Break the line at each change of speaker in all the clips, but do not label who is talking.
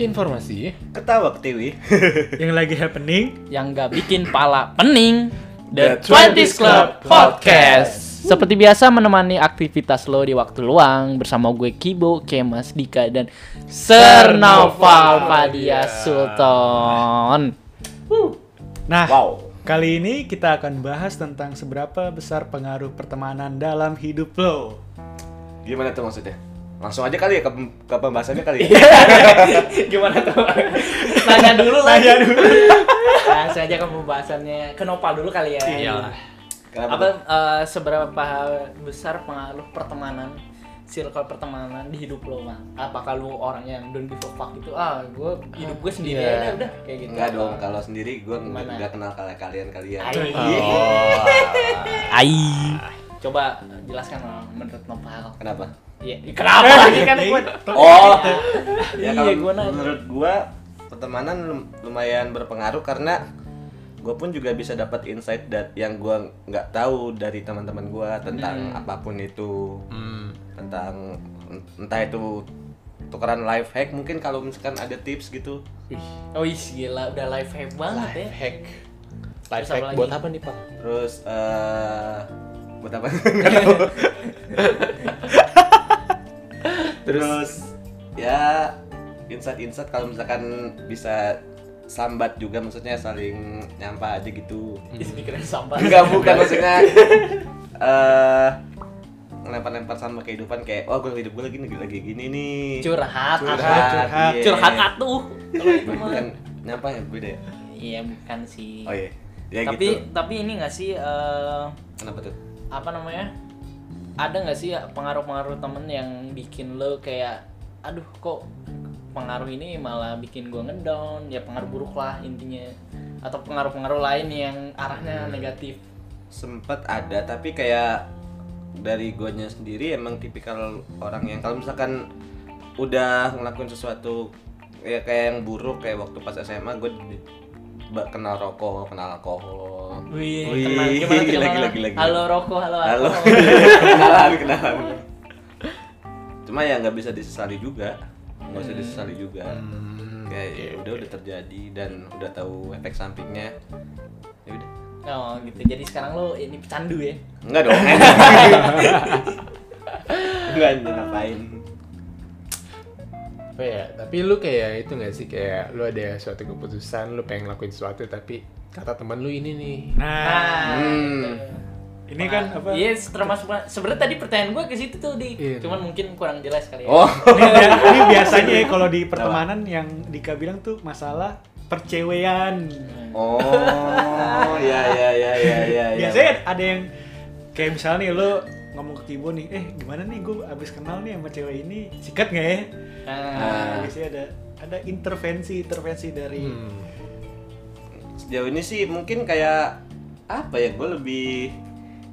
Informasi
Ketawa ke TV.
yang lagi happening
yang nggak bikin pala pening. The 20s
The 20s
Club
Club
Podcast. Seperti biasa menemani aktivitas lo di waktu luang bersama gue Kibo, Kemas, Dika dan Sernaval Fadia Sultan.
nah
Wow.
kali ini kita akan bahas tentang seberapa besar pengaruh pertemanan dalam hidup lo
Gimana tuh maksudnya? Langsung aja kali ya ke, ke pembahasannya kali ya.
Iya. Gimana tuh? Nanya dulu lah.
Nanya dulu.
Langsung aja ke pembahasannya. Ke Nopal dulu kali ya.
Kenapa?
Apa
tuh?
eh, seberapa besar pengaruh pertemanan circle pertemanan di hidup lo, Bang? Apakah lu orang yang don't give a fuck gitu? Ah, gue hidup gue sendiri
Iya.
aja udah kayak gitu.
Enggak dong, kalau sendiri gue
Gimana?
nggak kenal kalian kalian kalian. Iya.
Ai.
Oh.
Ai
Coba jelaskan Bang, menurut Nopal.
Kenapa?
Iya, kenapa lagi kan gue?
Oh.
Iya,
ya kalau
gua nanya.
menurut gue pertemanan lum- lumayan berpengaruh karena gue pun juga bisa dapat insight dat yang gue nggak tahu dari teman-teman gue tentang
Hmm.
apapun itu tentang entah itu tukeran life hack mungkin kalau misalkan ada tips gitu
Oh, ih, gila udah live hack banget ya.
hack. Life
Terus apa
hack
lagi?
buat apa nih, Pak?
terus eh buat apa
Iya.
Nggak tahu. terus, ya insight-insight kalau misalkan bisa sambat juga maksudnya saling nyampah aja gitu
Ih, pikiran sampah.
enggak bukan maksudnya eh ngelempar-lempar sama kehidupan kayak oh gue hidup gue lagi nih lagi gini nih
Curhat, curhat,
curhat
curhat.
iya.
curhat atuh. Kalau itu mah.
bukan nyampah ya beda ya
Iya, bukan sih.
oh iya ya
tapi
gitu
tapi ini nggak sih eh,
kenapa tuh
apa namanya ada nggak sih eh, pengaruh-pengaruh temen yang bikin lo kayak aduh kok pengaruh ini malah bikin gue ngedown ya pengaruh buruk lah intinya atau pengaruh-pengaruh lain yang arahnya
Hmm.
negatif
sempet
Oh.
ada tapi kayak dari guanya sendiri emang tipikal orang yang kalau misalkan udah ngelakuin sesuatu ya kayak yang buruk kayak waktu pas SMA gue kenal rokok kenal alkohol
Wih,
Wih,
kenal. Gimana tuh
gila,
kenal?
gila, gila, gila.
Halo rokok, halo
halo
alkohol.
kenalan kenalan cuma ya nggak bisa disesali juga nggak
Hmm.
bisa disesali juga kayak ya udah udah terjadi dan udah tahu efek sampingnya ya udah
Oh gitu, jadi sekarang lo ini pecandu ya?
Enggak dong. Enggak anjir ngapain.
Apa ya? Tapi lu kayak itu nggak sih kayak lu ada suatu keputusan, lu pengen lakuin sesuatu tapi kata teman lu ini nih.
nah
Hmm.
gitu.
ini kan apa
Iya, termasuk sebenarnya tadi pertanyaan gue ke situ tuh di,
Iya.
cuman mungkin kurang jelas kali ya.
Oh.
ini, bia- ini biasanya ya kalau di pertemanan yang Dika bilang tuh masalah percewean
Iya,
Oh, ya ya ya ya ya.
iya.
ya.
biasanya kan? ada yang kayak misalnya nih lo ngomong ke Kibo nih eh gimana nih gue abis kenal nih sama cewek ini sikat nggak ya
Nah,
Nah, biasanya ada ada intervensi intervensi dari
Ah. Hmm.
Sejauh ini sih mungkin kayak apa ya? Gue lebih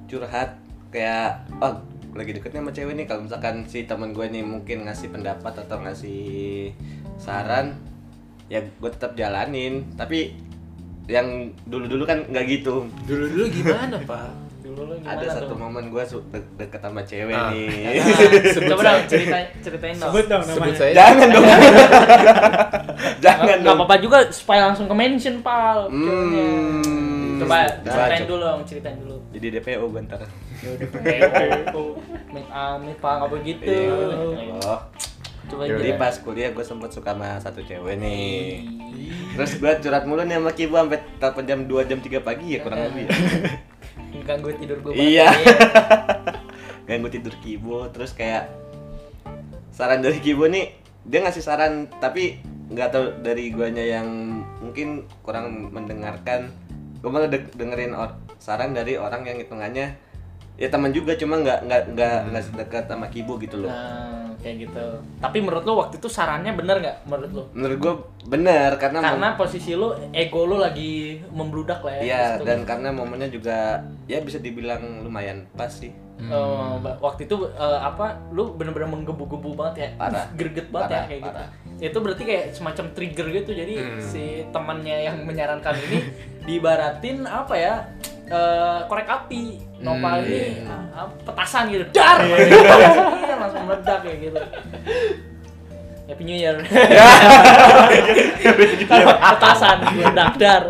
curhat kayak oh lagi deketnya sama cewek nih kalau misalkan si teman gue nih mungkin ngasih pendapat atau ngasih saran ya gue tetap jalanin tapi yang dulu-dulu kan nggak gitu
Dulu-dulu gimana, Pak?
dulu lo gimana
ada satu
tuh?
momen Iya. gue su- de- deket sama cewek
Ah.
nih
Nah, coba dong ceritain ceritain dong.
sebut dong
Sebut
namanya
saya.
Jangan dong. Jangan
Nggak- nggak
dong.
apa-apa juga supaya langsung ke mention pal. ceweknya.
Hmm.
Coba
Coba,
ceritain
coba. Ya
dulu dong, ceritain dulu.
Jadi DPO gue ntar.
Make amit pal apa gitu.
Iya. Oh.
Coba
Yaudah.
Jadi
ceritain.
pas kuliah gue sempet suka sama satu cewek nih. Terus gue curhat mulu nih sama Kibo sampai telepon jam 2 jam 3 pagi ya kurang lebih ya.
Ganggu tidur gue
Iya. Ganggu tidur Kibo terus kayak saran dari Kibo nih dia ngasih saran tapi nggak tahu dari guanya yang mungkin kurang mendengarkan gue malah de- dengerin or- saran dari orang yang hitungannya ya teman juga cuma nggak nggak nggak nggak sedekat sama Kibo gitu loh
Nah, kayak gitu. Tapi menurut lo waktu itu sarannya bener nggak menurut lo?
menurut gue bener karena mom-
Karena posisi lo ego lo lagi membludak lah ya.
Iya
Terus tuh-
dan karena momennya juga ya bisa dibilang lumayan pas sih
Eh, ba- waktu itu eh, apa lu bener-bener menggebu-gebu banget ya
Parah.
greget banget
Parah,
ya kayak
parah. Hmm.
gitu itu berarti kayak semacam trigger gitu jadi si temannya yang menyarankan ini dibaratin apa ya eh, korek api nopal
Hmm,
ini
Iya.
ah, ah, petasan gitu dar Iya, langsung meledak kayak gitu Happy New Year. Atasan, daftar.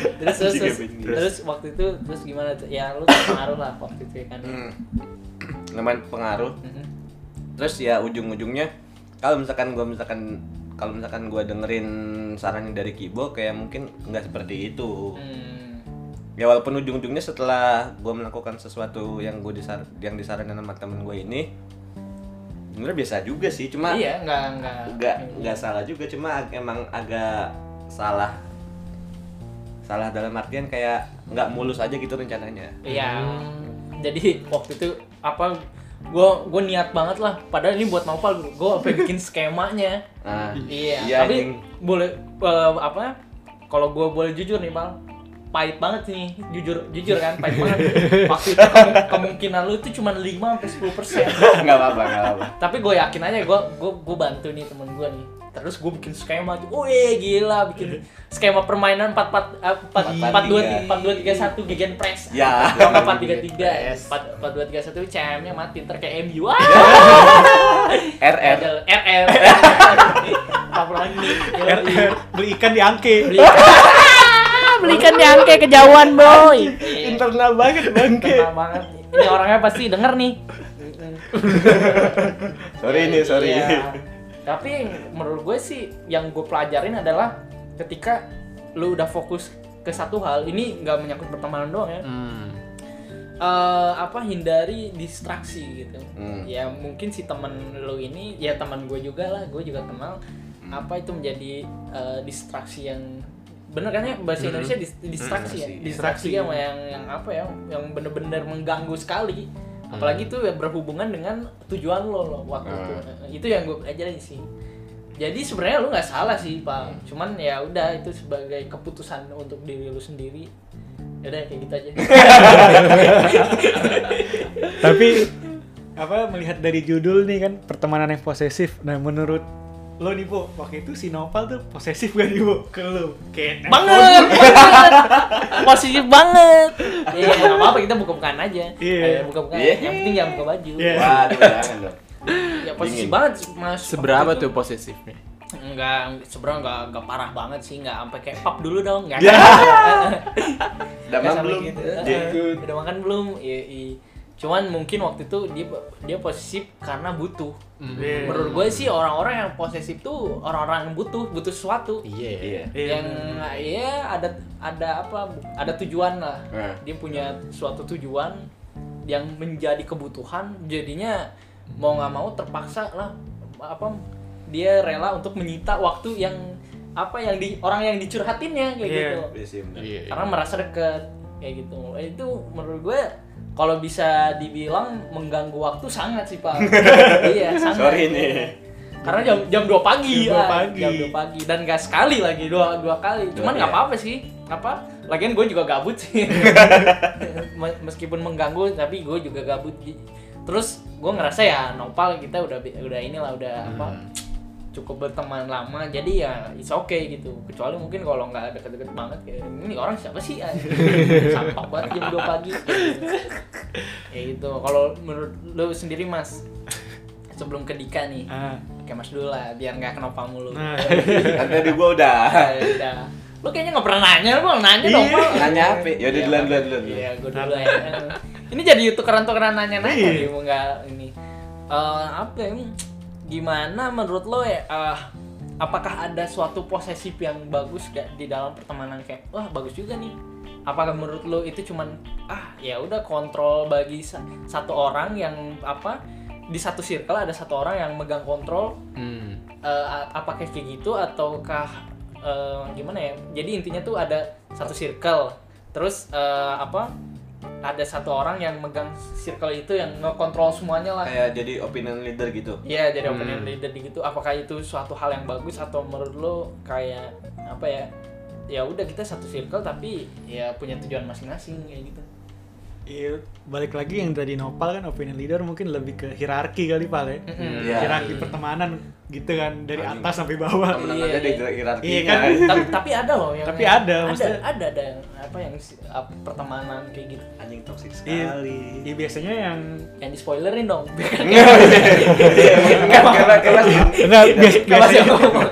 terus terus
Anjing,
terus,
Happy New Year.
terus waktu itu terus gimana tuh? Ya lu terpengaruh lah waktu itu ya kan.
Hmm. lumayan pengaruh
Mhm.
terus ya ujung-ujungnya kalau misalkan gua misalkan kalau misalkan gua dengerin sarannya dari Kibo kayak mungkin nggak seperti itu
Hmm.
ya walaupun ujung-ujungnya setelah gue melakukan sesuatu yang gue disar yang disarankan sama temen gue ini sebenarnya biasa juga sih cuma
Iya, enggak enggak.
nggak nggak salah juga cuma ag- emang agak salah salah dalam artian kayak nggak mulus aja gitu rencananya
Iya. Jadi waktu itu apa gue gue niat banget lah padahal ini buat novel gue sampai bikin skemanya
nah
Iya,
iya,
tapi
anjing.
boleh eh, apa? Kalau gue boleh jujur nih, Bang. Pahit banget nih, jujur jujur kan, pahit banget. Waktu itu kemu- kemungkinan lu itu cuma 5 sampai 10
nggak apa-apa nggak apa-apa
Tapi gue yakin aja gue gue bantu nih temen gue nih. Terus gue bikin skema tuh. Wih, gila bikin skema permainan eh, 4 4 4 4 2 3 1 gegen press.
Ya.
4 4 3 3. 4 4 2 3 1 CM-nya mati ntar kayak MU. Wah.
RR
Ada- RR. Apa lagi?
RR Er, beli ikan di angke.
belikan di angke kejauhan boy
Internal banget bangke.
Kenal Iya. banget ini orangnya pasti denger nih
sorry nih sorry
Iya. tapi menurut gue sih yang gue pelajarin adalah ketika lu udah fokus ke satu hal ini nggak menyangkut pertemanan doang ya
Hmm.
Eh, apa hindari distraksi gitu
Hmm.
ya mungkin si temen lu ini ya teman gue juga lah gue juga kenal apa itu menjadi eh, distraksi yang bener kan ya bahasa
Hmm.
Indonesia dis- distraksi ya distraksi
distraksi.
sama yang yang apa ya yang bener-bener mengganggu sekali apalagi itu ya berhubungan dengan tujuan lo lo waktu itu Nah, itu yang gue pelajarin sih jadi sebenarnya lu nggak salah sih pak cuman ya udah itu sebagai keputusan untuk diri lu sendiri ya udah kayak gitu aja
Tapi apa melihat dari judul nih kan pertemanan yang posesif. Nah menurut lo nih bu waktu itu si Nopal tuh posesif gak nih bu ke lo kayak "Nah."
banget, banget. positif banget iya nggak apa-apa kita buka-bukaan aja
Iya.
Eh, buka-bukaan
Iya.
yang penting jangan buka baju
Iya.
waduh jangan dong
ya positif
Dingin.
banget mas
Seberapa
Waktu
tuh
itu.
posesifnya?
nggak seberapa nggak nggak parah banget sih nggak sampai kayak pap dulu dong nggak gitu.
Ya.
Nggak
udah makan
sampai
belum Iya.
gitu.
Jenggut.
udah makan belum Iya, iya. cuman mungkin waktu itu dia dia posesif karena butuh
Hmm.
Hmm.
Iya.
menurut gue sih orang-orang yang posesif tuh orang-orang yang butuh butuh sesuatu
Iya.
iya
Iya,
yang ya ada ada apa ada tujuan lah
Nah.
dia punya suatu tujuan yang menjadi kebutuhan jadinya mau nggak mau terpaksa lah apa dia rela untuk menyita waktu yang apa yang di orang yang dicurhatinnya kayak
Iya.
gitu
Iya sih, bener.
Iya.
karena merasa deket kayak gitu Eh, itu menurut gue kalau bisa dibilang mengganggu waktu sangat sih pak iya sangat
sorry nih
karena jam jam 2 pagi
Jam 2
lah.
pagi.
jam 2 pagi dan gak sekali lagi dua dua kali cuman
Iya.
nggak apa-apa sih apa lagian gue juga gabut sih Me- meskipun mengganggu tapi gue juga gabut terus gue ngerasa ya nopal kita udah bi- udah inilah udah apa cukup berteman lama jadi ya it's okay gitu kecuali mungkin kalau nggak deket-deket banget kayak ini orang siapa sih Ah, sampah banget jam 2 pagi ya gitu kalau menurut lu sendiri mas sebelum ke Dika nih
Ah,
Kayak mas dulu lah, biar nggak kenapa mulu.
nah,
kan tadi gua udah
Ya udah. Lu kayaknya nggak pernah nanya, lu nanya dong.
Iya.
Bang.
Nanya apa? Yaudah,
Iya,
Ya duluan,
Bang.
duluan, duluan, duluan.
Iya, gua dulu ya. Ini jadi tukeran-tukeran nanya-nanya
Iya.
nih, mau nggak ini. Eh, apa ya, hmm, gimana menurut lo ya eh, apakah ada suatu posesif yang bagus gak di dalam pertemanan kayak wah bagus juga nih apakah menurut lo itu cuman ah ya udah kontrol bagi sa- satu orang yang apa di satu circle ada satu orang yang megang kontrol
Hmm.
eh, a- apakah kayak gitu ataukah eh, gimana ya? Jadi intinya tuh ada satu circle, terus eh, apa? Ada satu orang yang megang circle itu yang ngekontrol semuanya lah.
kayak jadi opinion leader gitu
Iya, jadi
Hmm.
opinion leader gitu. Apakah itu suatu hal yang bagus atau menurut lo kayak apa ya? Ya udah kita satu circle tapi ya punya tujuan masing-masing kayak gitu.
Iya, balik lagi yang tadi Nopal kan opinion leader mungkin lebih ke hierarki kali Pak ya.
Mm-mm.
Iya.
Hierarki pertemanan gitu kan dari
Anjing.
atas sampai bawah.
temen
Iya,
ada di
iya.
Iya
hierarkinya
kan?
tapi, tapi ada loh yang
Tapi ada,
ada
maksudnya-
ada ada yang apa yang si- apa, pertemanan kayak gitu
anjing toksik
Iya.
sekali
Iya biasanya yang
yang di spoilerin dong kan-
Iya,
Iya,
Enggak, kelas Iya, kan? kelas
Nah, bias-
kalau
biasanya,
saya ngomong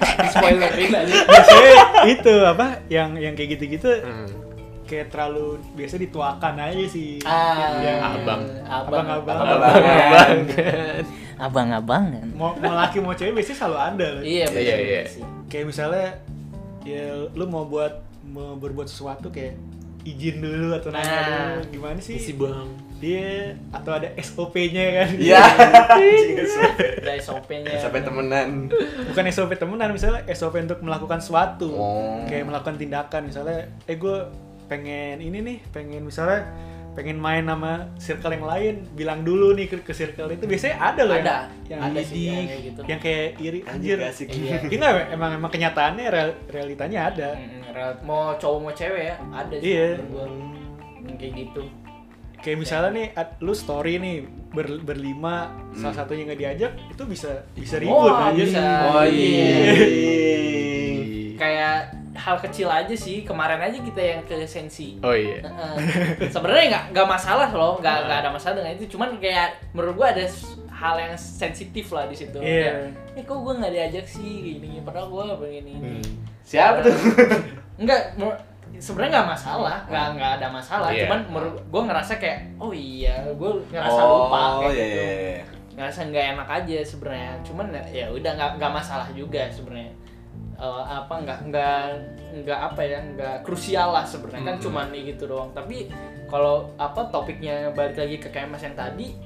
di spoilerin aja
biasanya itu apa yang yang kayak gitu-gitu
Hmm.
kayak terlalu biasa dituakan aja sih.
ah
Yang
abang.
abang
Abang-abang.
Abang-abang.
abang abangan
Mau, mau laki mau cewek biasanya selalu ada. loh.
iya betul
Iya, iya.
sih
Kayak misalnya ya lu mau buat mau berbuat sesuatu kayak izin dulu atau nanya
Nah.
dulu gimana sih
Isi bang.
dia atau ada SOP-nya kan
iya Anjing, sampai-
dari sopenya
sampai temenan
bukan SOP temenan misalnya SOP untuk melakukan suatu
Oh.
kayak melakukan tindakan misalnya eh gue pengen ini nih pengen misalnya pengen main sama circle yang lain bilang dulu nih ke, ke circle itu biasanya ada loh
Ada.
yang, yang
Ada sih,
didik,
yang kayak gitu.
yang kayak iri
anjir
anjir
gak asik
Iya.
ini emang emang kenyataannya real- realitanya ada
Mm-mm, rel- mau cowok mau cewek ya ada sih
Iya.
menurut gua. Yang kayak gitu
kayak misalnya nih at- lu story nih ber- berlima
Hmm.
salah satunya nggak diajak itu bisa bisa ribut
Wah,
anjir.
bisa.
oh iya
kayak hal kecil aja sih kemarin aja kita yang ke sensi
Oh iya.
Heeh. sebenarnya nggak nggak masalah loh nggak nggak ada masalah dengan itu cuman kayak menurut gua ada s- hal yang sensitif lah di situ
Iya.
Kayak, eh kok gua nggak diajak sih gini padahal gua pengen ini
Hmm.
siapa tuh
nggak mer- sebenarnya nggak masalah nggak nggak ada masalah
Iya.
cuman menurut gua ngerasa kayak oh iya gua ngerasa lupa
oh
kayak
iya
gitu
iya.
ngerasa nggak enak aja sebenarnya cuman ya- ya udah nggak nggak masalah juga sebenarnya Eh, apa nggak nggak nggak apa ya nggak krusial lah sebenarnya kan
Mhm.
cuman nih gitu doang tapi kalau apa topiknya balik lagi ke KMS yang tadi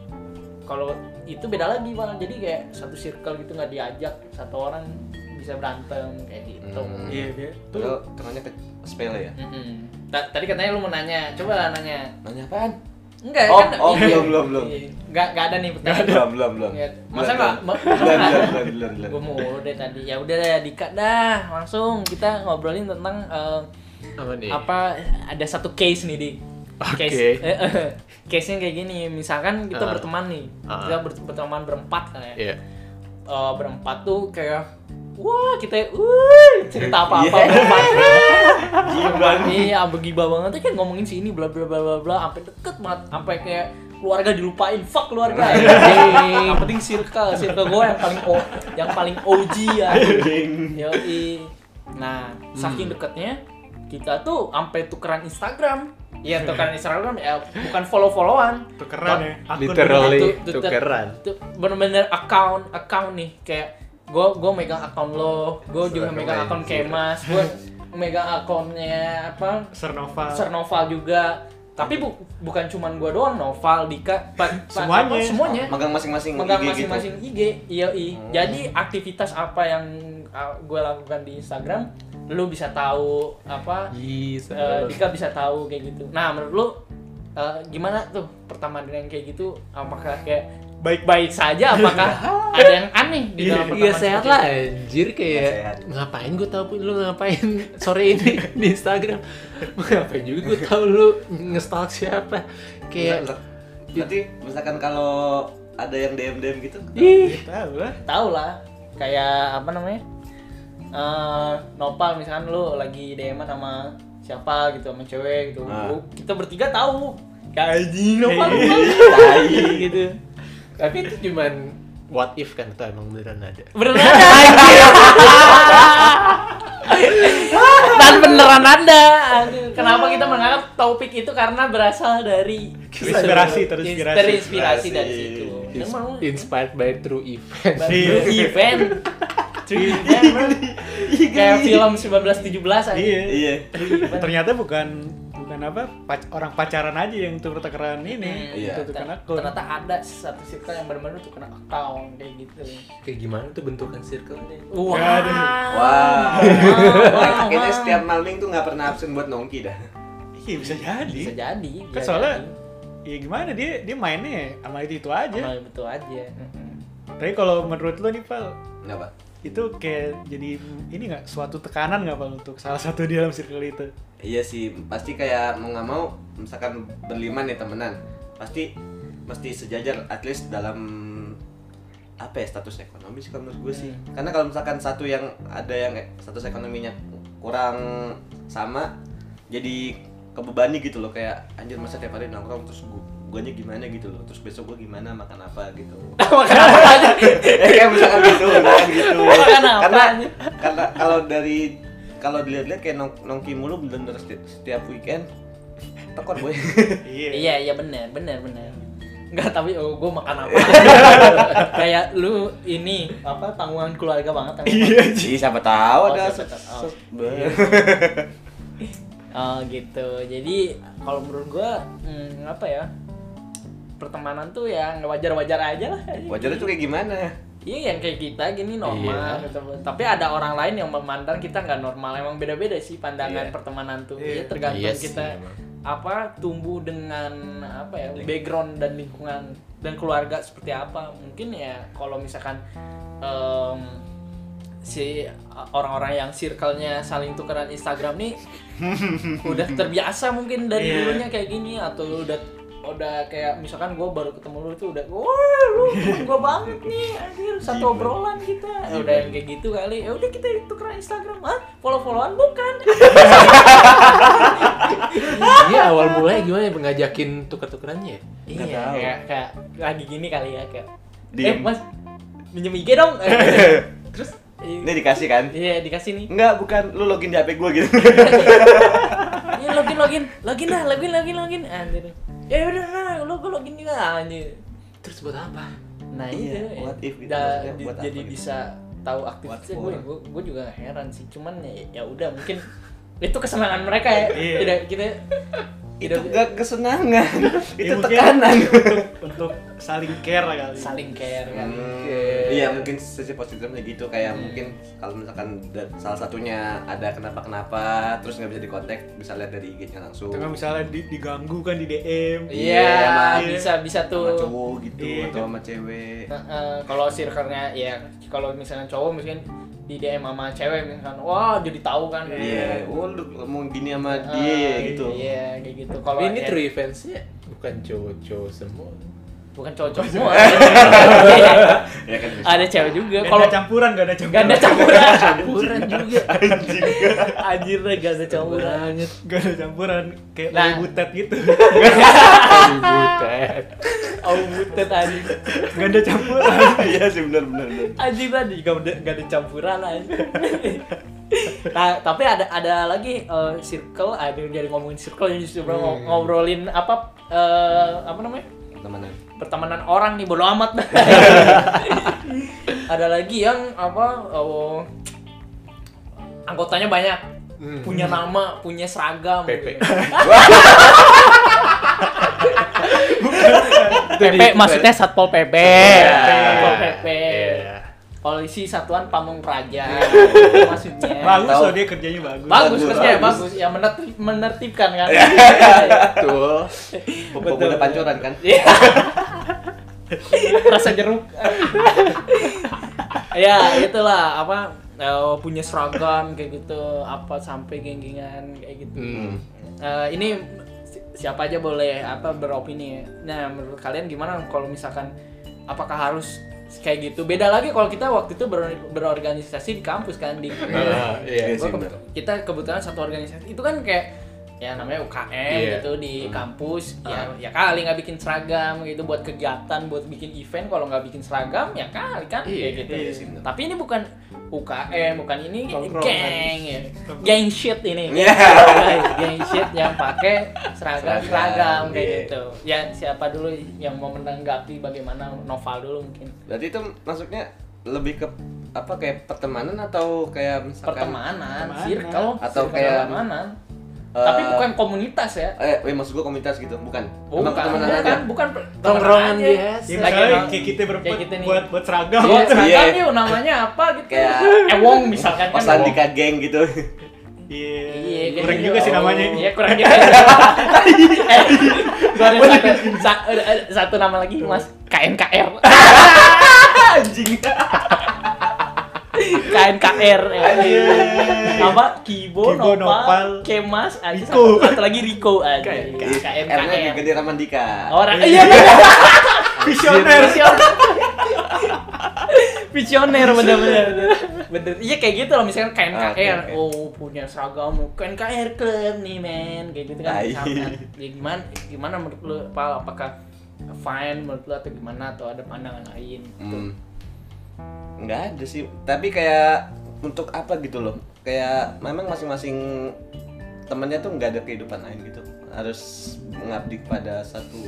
kalau itu beda lagi bang jadi kayak satu circle gitu nggak diajak satu orang bisa berantem kayak gitu
Hmm.
iya dia tuh
Padahal temannya ke sepele ya
Mm-mm. Ta- tadi katanya lu mau nanya coba lah nanya
nanya apaan
enggak
Oh,
kan
oh,
iya.
belum, belum, belum.
Iya. nggak nggak ada nih pertanyaan
belum belum belum
Iya. masa
Belum,
nggak ma-
belum. belum belum belum belum belum
gue mau deh tadi ya udah deh dikat dah langsung kita ngobrolin tentang eh,
Apa nih?
apa ada satu case nih di
Iya. Oke.
case eh, eh, case nya kayak gini misalkan kita
Ah.
berteman nih
Ah.
kita ber- berteman berempat kan ya
Iya.
Eh, berempat tuh kayak wah kita uh, cerita apa apa
Iya.
berempat
Gila.
iya begibah banget tuh kan ngomongin si ini bla bla bla bla bla sampai deket banget sampai kayak keluarga dilupain fuck keluarga yang penting circle circle gue yang paling o yang paling OG ya Yoi. Nah, saking deketnya kita tuh sampai tukeran Instagram. Iya, tukeran Instagram ya bukan follow-followan. Nah,
tuh keren ya akun
Literally
Tuh, tuh, tuh.
tukeran.
Itu bener-bener account account nih kayak gue gue megang account lo, gue juga
Serem
megang
aja.
account Kemas, gue megang accountnya apa
Sernova
Ser Noval juga. Tapi bu- bukan cuman gue doang, Noval, Dika, pa- pa-
Semuanya.
apa, semuanya
magang masing-masing
megang
IG gitu.
masing-masing IG, iya
Oh.
i. Jadi aktivitas apa yang gue lakukan di Instagram, lu bisa tahu apa,
Ih,
eh,
seru.
Dika bisa tahu kayak gitu. Nah menurut lu eh, gimana tuh pertemanan yang kayak gitu? Apakah kayak baik-baik saja? Apakah ada yang aneh di dalam pertemanan?
Iya sehat
seperti
lah
itu?
anjir kayak
Sehat.
ngapain gue tahu pun lu ngapain sore ini di Instagram ngapain juga gue tahu lu ngestalk siapa
Iya.
kayak
Iya. Berarti misalkan kalau ada yang DM DM gitu,
Iya.
ih
tahu lah
Tahu lah, kayak apa namanya? Eh, Nopal misalkan lu lagi DM sama siapa gitu sama cewek gitu.
Ah.
Lu- Kita bertiga tahu. Kayak anjing Nopal.
Iya.
Nopal.
tai.
gitu tapi itu cuman what if kan atau emang beneran ada
beneran ada dan beneran ada Aduh, kenapa kita mengangkat topik itu karena berasal dari
Inspirasi, terinspirasi.
terinspirasi terinspirasi dari
Inspirasi.
situ
Ins-
Emang lu-
inspired by true event
Iya.
Baru event Cuy, event, bro. kayak film 1917 aja
iya
Iya.
ternyata bukan bukan apa pac- orang pacaran aja yang tuh tukeran
Hmm,
ini
Iya.
itu tukeran
Ternyata-
akun
ternyata ada satu circle yang benar-benar tuh kena account kayak gitu
kayak gimana tuh bentukan circle
wow
Aduh.
Ah.
Wow.
wow,
Kayaknya
wow.
setiap malming tuh nggak pernah absen buat nongki dah.
iya bisa jadi
bisa jadi
kan
bisa
soalnya
jadi.
ya gimana dia dia mainnya ya sama itu itu aja
Amal betul aja.
tapi kalau menurut lo nih pal
Nggak apa.
itu kayak jadi ini nggak suatu tekanan nggak pal untuk salah satu di dalam circle itu
Iya sih, pasti kayak mau nggak mau, misalkan berlima nih temenan, pasti mesti sejajar at least dalam apa ya status ekonomi sih kalau menurut gue sih. Karena kalau misalkan satu yang ada yang status ekonominya kurang sama, jadi kebebani gitu loh kayak anjir masa tiap hari nongkrong terus gue guanya gimana gitu loh terus besok gue gimana makan apa gitu
Makan apa aja?
Iya.
ya kayak misalkan gitu misalkan gitu
Makan apa
karena
aja?
karena kalau dari kalau dilihat-lihat kayak nong nongki mulu bener-bener setiap, setiap weekend tekor boy
Iya.
Iya iya benar benar benar. Enggak tapi oh, gue makan apa? Kayak lu ini apa tanggungan keluarga banget kan? emang.
Iya.
sih Iya, siapa tahu
Oh,
ada
siapa
se-
tahu. Iya.
se- be-
Oh gitu. Jadi kalau menurut gua hmm, apa ya? Pertemanan tuh ya nggak wajar-wajar aja lah.
wajarnya tuh kayak gimana
Iya yang kayak kita gini normal
Iya.
gitu. Tapi ada orang lain yang memandang kita nggak normal. Emang beda-beda sih pandangan pertemanan tuh. Iya
Iya.
tergantung
Iya sih,
kita
emang. Iya.
apa tumbuh dengan apa ya background dan lingkungan dan keluarga seperti apa. Mungkin ya kalau misalkan em, si orang-orang yang circle-nya saling tukeran Instagram nih udah terbiasa mungkin dari
Iya.
dulunya kayak gini atau udah udah kayak misalkan gue baru ketemu lu tuh udah wah lu gue banget nih anjir satu
Jibat.
obrolan kita
Jibat.
udah yang kayak gitu kali ya udah kita tukeran Instagram ah follow followan bukan
Ini awal mulanya gimana ya ngajakin tuker-tukerannya ya?
Nggak
iya
tahu.
kayak, kayak lagi gini kali ya kayak eh
Diem.
mas minjem IG dong terus
ini
i-
dikasih kan
iya dikasih nih
enggak bukan lu login di hp gue gitu
Iya, ini Iya, login login login lah login login login anjir ya udah nah, lu gua login juga anjir
Terus buat apa?
Nah
Iya,
itu
what if gitu,
udah
maksudnya
di-
buat
jadi
apa gitu?
bisa tahu
What
aktivitasnya
for?
gue gue gue juga nggak heran sih cuman ya, ya udah mungkin itu kesenangan mereka ya
Iya.
tidak kita
itu
tidak
enggak kesenangan
Ya,
itu
mungkin
tekanan
untuk, untuk saling care lah kali.
saling care kan
Hmm, Iya mungkin sisi positifnya gitu
Hmm.
kayak mungkin kalau misalkan da- salah satunya ada kenapa-kenapa terus nggak bisa dikontak bisa lihat dari IG-nya langsung.
Tengah
kan
misalnya di- diganggu kan di DM.
iya
sama-
bisa bisa
sama
tuh
cowok gitu
Iya.
atau sama cewek.
Nah, eh, kalau circle-nya ya kalau misalnya cowok mungkin di DM sama cewek misalkan wah jadi tahu kan
Iya, oh lu ngomong gini sama
Eh,
dia gitu.
iya kayak gitu
Tapi
kalau
ini
ya-
true events-nya bukan cowok-cowok semua.
bukan cowok-cowok semua
Ya kan. bisa.
ada cewek juga
Gak
kalau
ada campuran, gak ada
gak
campuran.
ada campuran
Campuran juga.
Anjir deh gak ada campuran
Banget.
Gak ada campuran kayak
Nah.
nah. butet gitu.
Aduh, butet.
Oh butet anjing
Gak ada campuran.
Eh,
Iya sih benar benar. benar.
Anjing tadi gak ada, gak ada campuran anjing Nah tapi ada ada lagi eh, circle Ada yang jadi ngomongin circle yang justru ngo- ngobrolin apa eh, Apa namanya
Pertemanan.
pertemanan orang nih bodo amat ada lagi yang apa oh, anggotanya banyak
Hmm.
punya nama punya seragam
Pepe.
gitu.
Itu
PP
di-
maksudnya satpol PP.
Eh,
Satpol PP.
Iya.
Polisi Satuan Pamung Praja. maksudnya.
bagus
Tahu.
loh dia kerjanya
bagus
bagus.
Bagus,
maksudnya
bagus.
bagus ya menertib- menertibkan kan.
Iya. Betul.
Pemuda pancoran kan.
Iya. Rasa jeruk. ya, itulah apa eh, punya seragam kayak gitu, apa sampai geng-gengan kayak gitu.
Hmm.
Eh, ini si- siapa aja boleh apa beropini ya. Nah, menurut kalian gimana kalau misalkan apakah harus kayak gitu? Beda lagi kalau kita waktu itu ber- berorganisasi di kampus kan di
Ah,
Iya
Iya.
sih
Gua
benar.
ke- kita kebetulan satu organisasi itu kan kayak ya namanya UKM
Iya.
gitu
Hmm.
di kampus
Ah.
ya ya kali nggak bikin seragam gitu buat kegiatan buat bikin event kalau nggak bikin seragam ya kali kan
Iya,
kayak gitu
iya sih, bener.
tapi ini bukan UKM bukan ini
Tongkrongan.
geng ya geng shit ini
kan. Iya.
geng shit yang pakai seragam
Seragam,
seragam kayak
iya.
gitu ya siapa dulu yang mau menanggapi bagaimana Noval dulu mungkin
Berarti itu maksudnya lebih ke apa kayak pertemanan atau kayak misalkan
pertemanan,
Pertemanan.
circle
Atau
circle
kayak-
pertemanan tapi
Eh,
bukan komunitas ya
Eh, weh, maksud gua komunitas gitu, bukan.
Oh, Bukan, Iya kan?
Emang pertemanan
bukan,
aja.
bukan
Tongkrongan
pertemanan aja.
Ya,
biasa.
Lagi
misalnya
emang-
kayak kita berempat
kayak kita nih.
buat buat seragam.
Iya, seragam
Iya.
yuk namanya apa gitu.
Kayak
Ewong misalkan kan.
Kosan di
Ewong.
geng Oh, gitu.
Iya.
Iya, kayak
Kurang
gitu.
juga sih namanya.
Iya, kurang juga. eh, baru satu, sa- ada- ada satu nama lagi Mas KNKR.
Anjing.
KNKR ya. apa Kibo,
Kibo, Nopal,
Nopal, Kemas aja satu,
Riko.
satu lagi Riko aja
KNKR.
R-nya
KNKR
gede Ramandika.
orang iya
Visioner.
visioner visioner bener-bener bener iya kayak gitu loh misalkan KNKR
Oke, oke.
oh punya seragam KNKR club nih men kayak gitu kan
Tai.
Misalkan, ya, gimana gimana menurut lu Pal? apakah fine menurut lu atau gimana atau ada pandangan lain gitu.
Hmm. Nggak ada sih. Tapi kayak untuk apa gitu loh. Kayak memang masing-masing temennya tuh nggak ada kehidupan lain gitu. Harus mengabdi kepada satu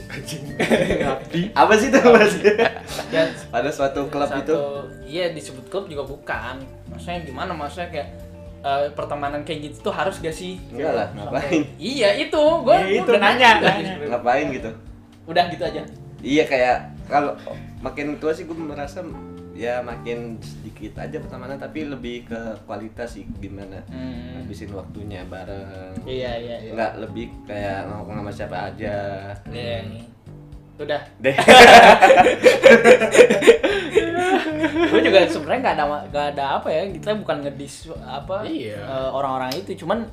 Ngabdi.
apa sih itu mas?
Ya,
Pada suatu klub
Satu-
itu.
iya disebut klub juga bukan maksudnya gimana maksudnya kayak eh, pertemanan kayak gitu tuh harus gak sih
Enggak lah,
Sampai-
ngapain?
iya itu gue
Ya, itu,
udah nanya
nanya.
Ngapain gitu?
udah gitu aja
Iya kayak kalau makin tua sih gue merasa ya makin sedikit aja pertemanan tapi lebih ke kualitas sih gimana
Hmm.
habisin waktunya bareng
iya iya iya
nggak lebih kayak ngomong sama siapa aja
Iya, iya. udah
deh
gue juga sebenarnya nggak ada nggak ada apa ya kita bukan ngedis apa
Iya.
eh, orang-orang itu cuman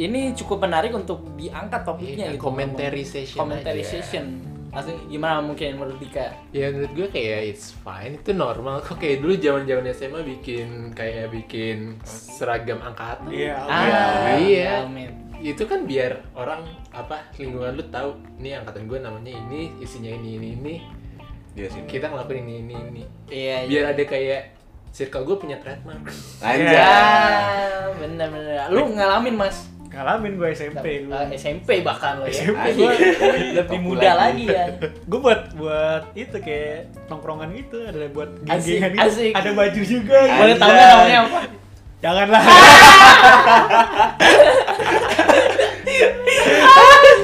ini cukup menarik untuk diangkat topiknya
Iya,
gitu
commentary session
commentary
aja.
session langsung gimana mungkin menurut Dika
ya menurut gue kayak it's fine itu normal kok kayak dulu zaman zaman SMA bikin kayak bikin seragam angkatan
Iya,
Ah, iya.
Almin.
itu kan biar orang apa lingkungan lu tahu nih angkatan gue namanya ini isinya ini ini ini
Iya sih
kita ngelakuin ini ini ini
iya iya.
biar ada kayak circle gue punya trademark Iya.
Anjay.
Ya, bener-bener. Lu ngalamin mas
Ngalamin gue SMP.
Eh, SMP bahkan lo ya.
SMP
Anjay.
gue
Lebih muda lagi ya.
gue buat buat itu kayak tongkrongan gitu ada buat
Asik,
geng-gengan
asik.
gitu ada baju juga
Anjay.
Boleh tahu nggak namanya apa?
janganlah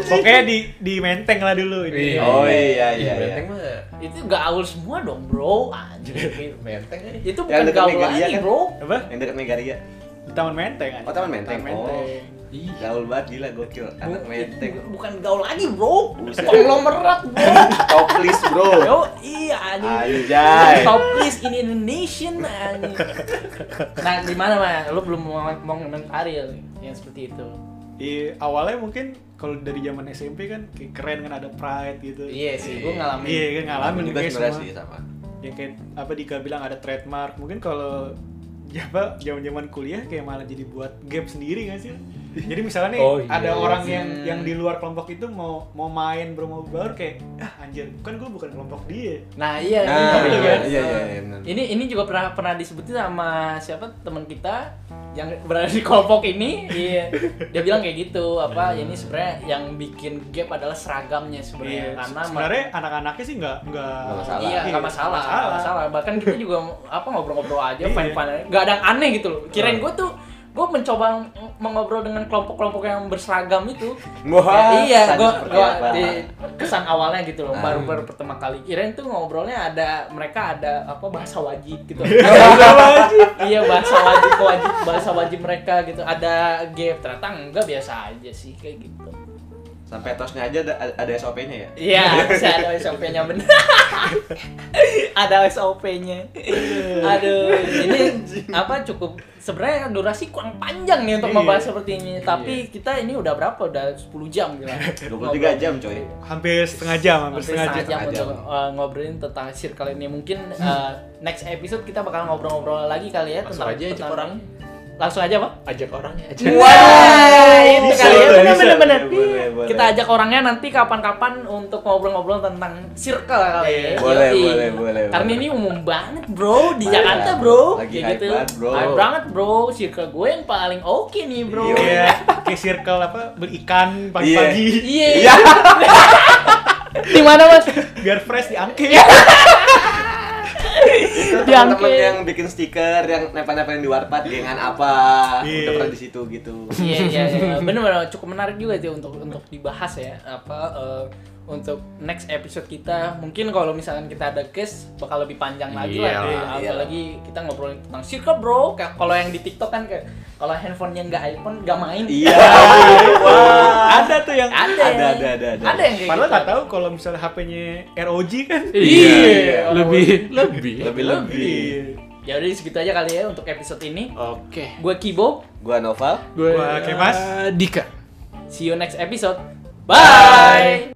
pokoknya di di menteng lah dulu ini
Iya. Oh, iya,
Ih,
iya, iya.
Menteng mah
Itu gaul semua dong bro. Anjir.
menteng aja.
Itu bukan
Yang dekat
gaul
Megaria
lagi
kan?
bro.
apa
yang dekat Megaria
di taman menteng aja.
Oh, Taman Menteng. Oh.
Menteng.
Ih,
gaul banget gila gokil anak
Bu-
menteng
itu bukan gaul lagi bro.
Buset.
Konglomerat bro.
toples bro
Yo, iya anjir.
Anjay
Top list in Indonesian anjir. Nah, gimana mah? Lu belum mau mau komentari yang seperti itu.
Di Iya, awalnya mungkin kalau dari zaman SMP kan kayak keren kan ada pride gitu
Iya sih, gua ngalamin.
iya kan ngalamin
juga
kayak
sebenarnya
semua
sih sama
yang kayak apa Dika bilang ada trademark mungkin kalau ya apa zaman-zaman kuliah kayak malah jadi buat gap sendiri nggak sih jadi misalnya nih
Oh, iya,
ada
iya.
orang yang
Hmm.
yang di luar kelompok itu mau mau main bermau baru kayak ah anjir kan gue bukan kelompok dia
Nah, iya.
nah
ini
iya
juga.
iya iya bener.
Ini ini juga pernah pernah disebutin sama siapa teman kita yang berada di kelompok ini. Iya. Dia bilang kayak gitu,
Nah.
apa ini sebenarnya yang bikin gap adalah seragamnya sebenarnya
Iya,
karena
sebenarnya anak-anaknya sih nggak nggak
Nggak masalah.
Iya,
Iya,
nggak masalah,
nggak
nggak masalah. Bahkan kita juga apa ngobrol-ngobrol aja,
Iya.
fine-fine. Nggak ada yang aneh gitu loh. Kirain gue tuh, gue mencoba ng- mengobrol dengan kelompok-kelompok yang berseragam itu.
Wah,
Ya, iya,
kesannya
gue
seperti
gua
apa?
di kesan awalnya gitu loh,
Ah.
baru baru pertama kali. Kirain tuh ngobrolnya ada mereka ada apa bahasa wajib gitu. iya bahasa wajib wajib bahasa wajib mereka gitu. Ada gap ternyata enggak biasa aja sih kayak gitu.
sampai tosnya aja ada, ada SOP-nya ya
Iya, bisa ada SOP-nya bener. ada SOP-nya. Aduh, ini apa cukup sebenarnya durasi kurang panjang nih untuk
Iya.
membahas seperti ini. Tapi kita ini udah berapa? Udah 10 jam gila.
23 jam coy
hampir setengah jam hampir,
Hampir setengah jam
Setengah
untuk
jam.
uh, ngobrolin tentang circle ini. Mungkin uh, next episode kita bakal ngobrol-ngobrol lagi kali ya
Langsung
tentang
aja ajak
tentang-
orang.
Langsung aja, Pak.
ajak orangnya aja
Wah, itu
Bisa,
kali ya
bisa,
bener bener bener.
boleh, boleh, boleh.
Kita ajak orangnya nanti kapan-kapan untuk ngobrol-ngobrol tentang circle kali ya.
Iya. Boleh,
Yoi.
boleh, boleh,
Karena
boleh.
ini umum banget, Bro, di
Parah.
Jakarta, Bro.
Lagi
Kayak gitu.
hype banget, Bro.
Hype banget, Bro. Circle gue yang paling oke nih, Bro.
Iya.
Kayak kayak circle apa berikan pagi-pagi
Iya. di mana, Mas?
biar fresh di angke
Iya.
Itu
Di angke.
teman-teman yang bikin stiker, yang nempel-nempelin di warpat, gengan apa,
Iya.
udah pernah di situ gitu.
Iya, iya, iya. Bener-bener cukup menarik juga sih untuk untuk dibahas ya. Apa eh, untuk next episode kita mungkin kalau misalkan kita ada guest bakal lebih panjang lagi lah.
Iyalah,
Nah,
iyalah.
Apalagi kita ngobrolin tentang circle, Bro. Kayak Kalau yang di TikTok kan kayak kalau handphonenya nggak iPhone nggak main.
Iya. Wah.
ada tuh yang
Ada.
Ada, ada, ada, ada.
yang kayak
padahal
gitu.
nggak tahu kalau misalnya HP-nya ROG kan
iya
Iya.
lebih lebih
Lebih-lebih.
ya
Iya.
udah segitu aja kali ya untuk episode ini
Oke.
gue Kibo
Gua Noval.
Gue
Gua Kemas.
Dika.
see you next episode bye.